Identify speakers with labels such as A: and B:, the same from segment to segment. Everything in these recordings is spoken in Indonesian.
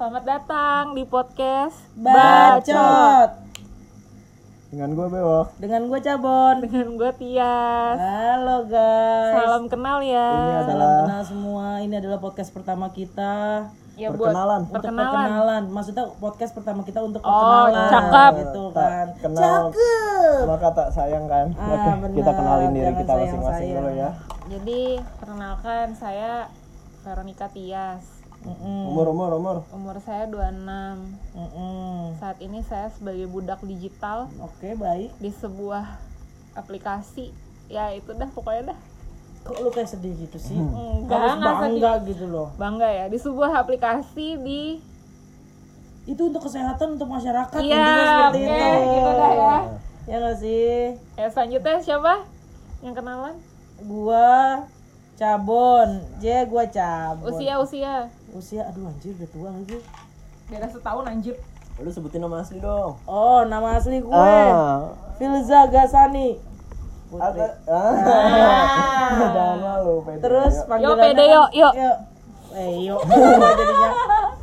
A: Selamat datang di podcast
B: Bacot
C: Dengan gue bewok.
B: Dengan gue Cabon
A: dengan gue Tias.
B: Halo guys
A: Salam kenal
C: Ini
A: ya.
B: Salam
C: adalah
B: kenal semua Ini adalah podcast pertama kita
A: Ya buat
C: perkenalan.
B: Untuk
A: perkenalan.
B: perkenalan Maksudnya podcast pertama kita untuk
A: Oh,
B: perkenalan
A: cakep.
B: Gitu
C: Tak
B: kan
C: kenal.
B: Cakep
C: maka tak sayang kan.
B: Ah,
C: Oke,
B: benar.
C: kita kenalin diri
B: Jangan
C: kita
B: sayang,
C: masing-masing
B: sayang.
C: dulu ya.
A: Jadi perkenalkan saya Veronica Tias.
B: Mm-mm,
C: Umur umur umur.
A: Umur saya 26.
B: mm-mm.
A: Saat ini saya sebagai budak digital
B: Oke baik
A: di sebuah aplikasi. Ya itu dah pokoknya dah.
B: Kok lu kayak sedih gitu sih?
A: Enggak,
B: Harus
A: enggak Hmm. sedih.
B: bangga gitu loh
A: Bangga ya di sebuah aplikasi di
B: Itu untuk kesehatan untuk masyarakat Kan intinya
A: Iya,
B: seperti
A: oke,
B: itu
A: gitu dah ya.
B: Ya gak sih?
A: Ya selanjutnya siapa? Yang kenalan?
B: Gua Cabon J gua Cabon
A: Usia usia.
B: Usia aduh anjir udah tua lagi
A: Beda setahun anjir.
C: Lu sebutin nama asli dong.
B: Oh, nama asli gue
C: Ah.
B: Filza Gasani. Putri.
C: Ada- Ah. Jangan malu, Pedro.
B: Terus panggilan
A: Yo pede yo yo.
B: Eh, yo. Gua jadinya.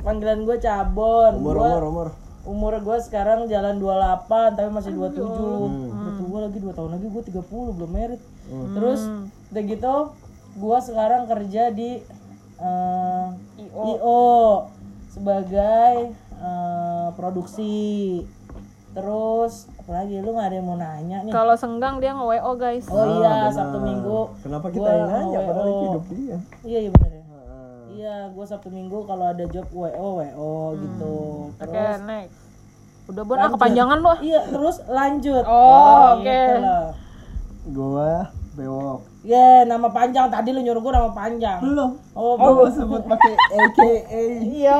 B: Panggilan gue Cabon.
C: umur
B: Gua-
C: umur umur.
B: umur gue sekarang jalan 28 tapi masih 27.
C: Hmm.
B: Udah tua lagi 2 tahun lagi gue 30 belum merit. Terus udah gitu gue sekarang kerja di eh, IO. sebagai eh, produksi. Terus apalagi lu gak ada yang mau nanya nih.
A: Kalau senggang dia nge-WO guys.
B: Oh iya, Sabtu Minggu.
C: Ah, Kenapa
B: Gua
C: kita yang nanya
B: mau
C: padahal itu
B: WO.
C: hidup dia? Ah.
B: Iya, iya benar ya. Iya, gue Sabtu Minggu kalau ada job WO, WO gitu.
A: Oke,
B: Terus
A: next. Udah bon ah kepanjangan lu. ah.
B: iya, terus lanjut.
A: Oh, oke.
B: Gitu loh.
C: Gua bewok.
B: Ye, Ya, nama panjang tadi lu nyuruh gue nama panjang.
C: Belum.
B: Oh,
C: Oh,
B: belum.
C: gua sebut pakai AKA.
B: Iya,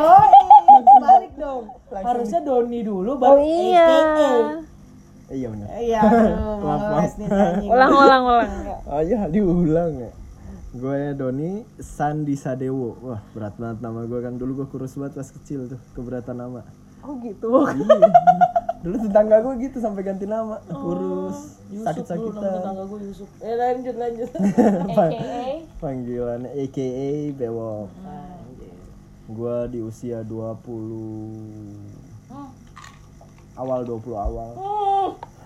B: balik dong. Harusnya Doni dulu baru AKA.
C: Iya benar.
B: Iya, aduh, males nih si anjing.
A: Ulang ulang ulang.
C: Oh iya diulang ya. Gue Doni Sandi Sadewo. Wah, berat banget nama gue kan dulu gue kurus banget pas kecil tuh, keberatan nama. Iya.
A: Oh gitu.
C: Dulu tetangga gue gitu sampai ganti nama,
B: Oh.
C: kurus, sakit-sakitan.
B: Tetangga gue Yusuf. Eh, lanjut lanjut.
A: AKA
C: Panggilannya AKA Bewok. Gue di usia 20 awal 20 awal.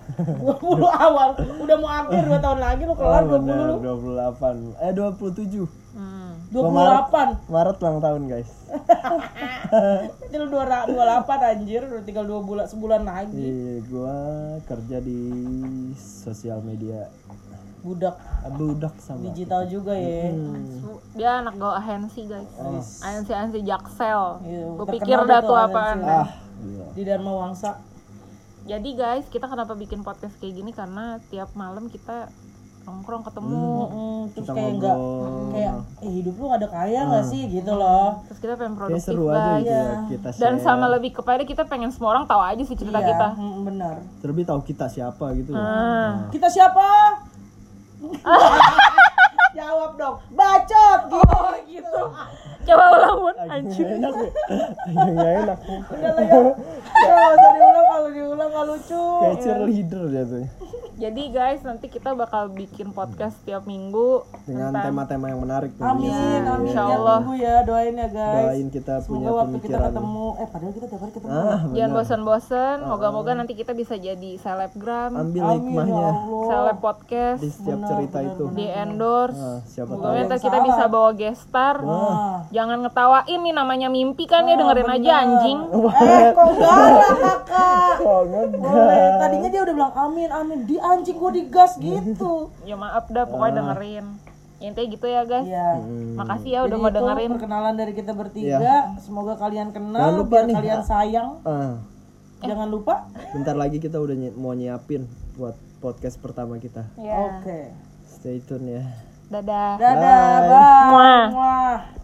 B: 20 awal udah mau hampir 2 tahun lagi lu kelar
C: Oh,
B: 20
C: bener,
B: lu.
C: 28. Eh 27.
A: Hmm.
B: 28.
C: Maret ulang tahun, guys.
B: Jadi lu 2 28 anjir, udah tinggal 2 bulan sebulan lagi.
C: Iya, gue kerja di sosial media
B: Budak
C: budak sama
B: digital juga ya.
C: Hmm.
A: Su- Dia anak gaul ahensi guys. Ahensi ahensi Jaksel.
B: Oh, Iya,
A: Gue
B: terkenal
A: pikir
B: dah
A: dah
B: tuh
A: tuh
B: ahensi.
A: apaan.
C: ah gila.
B: Di Dharma Wangsa.
A: Jadi guys, kita kenapa bikin podcast kayak gini karena tiap malam kita nongkrong ketemu.
B: Mm, terus
C: Kita
B: kayak enggak
C: ngobrol. Hmm.
B: kayak eh, hidup lu ada kaya nggak sih gitu loh.
A: Terus kita
B: Iya,
A: pengen
C: kayak
A: produktif
C: seru aja
A: guys.
C: gitu ya kita
A: Dan
C: share.
A: sama lebih kepada kita pengen semua orang tahu aja sih cerita
B: Iya,
A: kita.
B: mm, benar.
C: terlebih tahu kita siapa gitu loh.
B: Kita siapa? Jawab dong. Bacot
A: Oh,
B: gitu. gitu.
A: Coba ulang Bun.
C: Anjing nggak enak ya Anjing nggak enak
B: Udah lah ya. Ya, nggak usah diulang kalau diulang nggak lucu.
C: kayak cheerleader gitu. dia tuh
A: Jadi guys, nanti kita bakal bikin podcast tiap minggu
C: dengan tema-tema yang menarik tuh
B: Amin,
C: biasanya.
B: amin.
A: Insya
B: Tiap
A: Allah.
B: minggu ya doain ya guys.
C: Iya. doain kita punya
B: Semoga waktu kita
C: pemikiran
B: ketemu, eh padahal kita tiap hari ketemu.
C: ah
A: Jangan
C: benar Ah.
A: bosan-bosan. Moga-moga nanti kita bisa jadi selebgram,
C: ambil
B: Amin ya
C: hikmahnya
B: Allah.
A: seleb podcast,
C: di setiap cerita itu
A: di endorse.
C: Ah, siapa tahu
A: Moga nanti kita bisa bawa guest star.
B: Ah.
A: Jangan ngetawain nih namanya mimpi kan ya dengerin aja anjing.
B: Eh kok gara kakak?
C: oh enggak
B: Boleh. Tadinya dia udah bilang amin amin di anjing gua digas gitu.
A: Ya maaf dah
C: Ah.
A: pokoknya dengerin. Intinya gitu ya guys.
B: Iya.
C: Hmm.
A: Makasih ya udah
B: Jadi
A: mau
B: itu
A: dengerin.
B: perkenalan dari kita bertiga. Semoga kalian
C: Iya. Jangan
B: kenal,
C: lupa
B: biar
C: nih.
B: kalian sayang.
C: Ah,
B: Jangan lupa.
C: bentar lagi kita udah nyi- mau nyiapin buat podcast pertama kita
A: Ya.
B: Oke.
C: stay tune ya
A: Dadah.
B: Dadah, bye.
A: Muah.
B: Muah.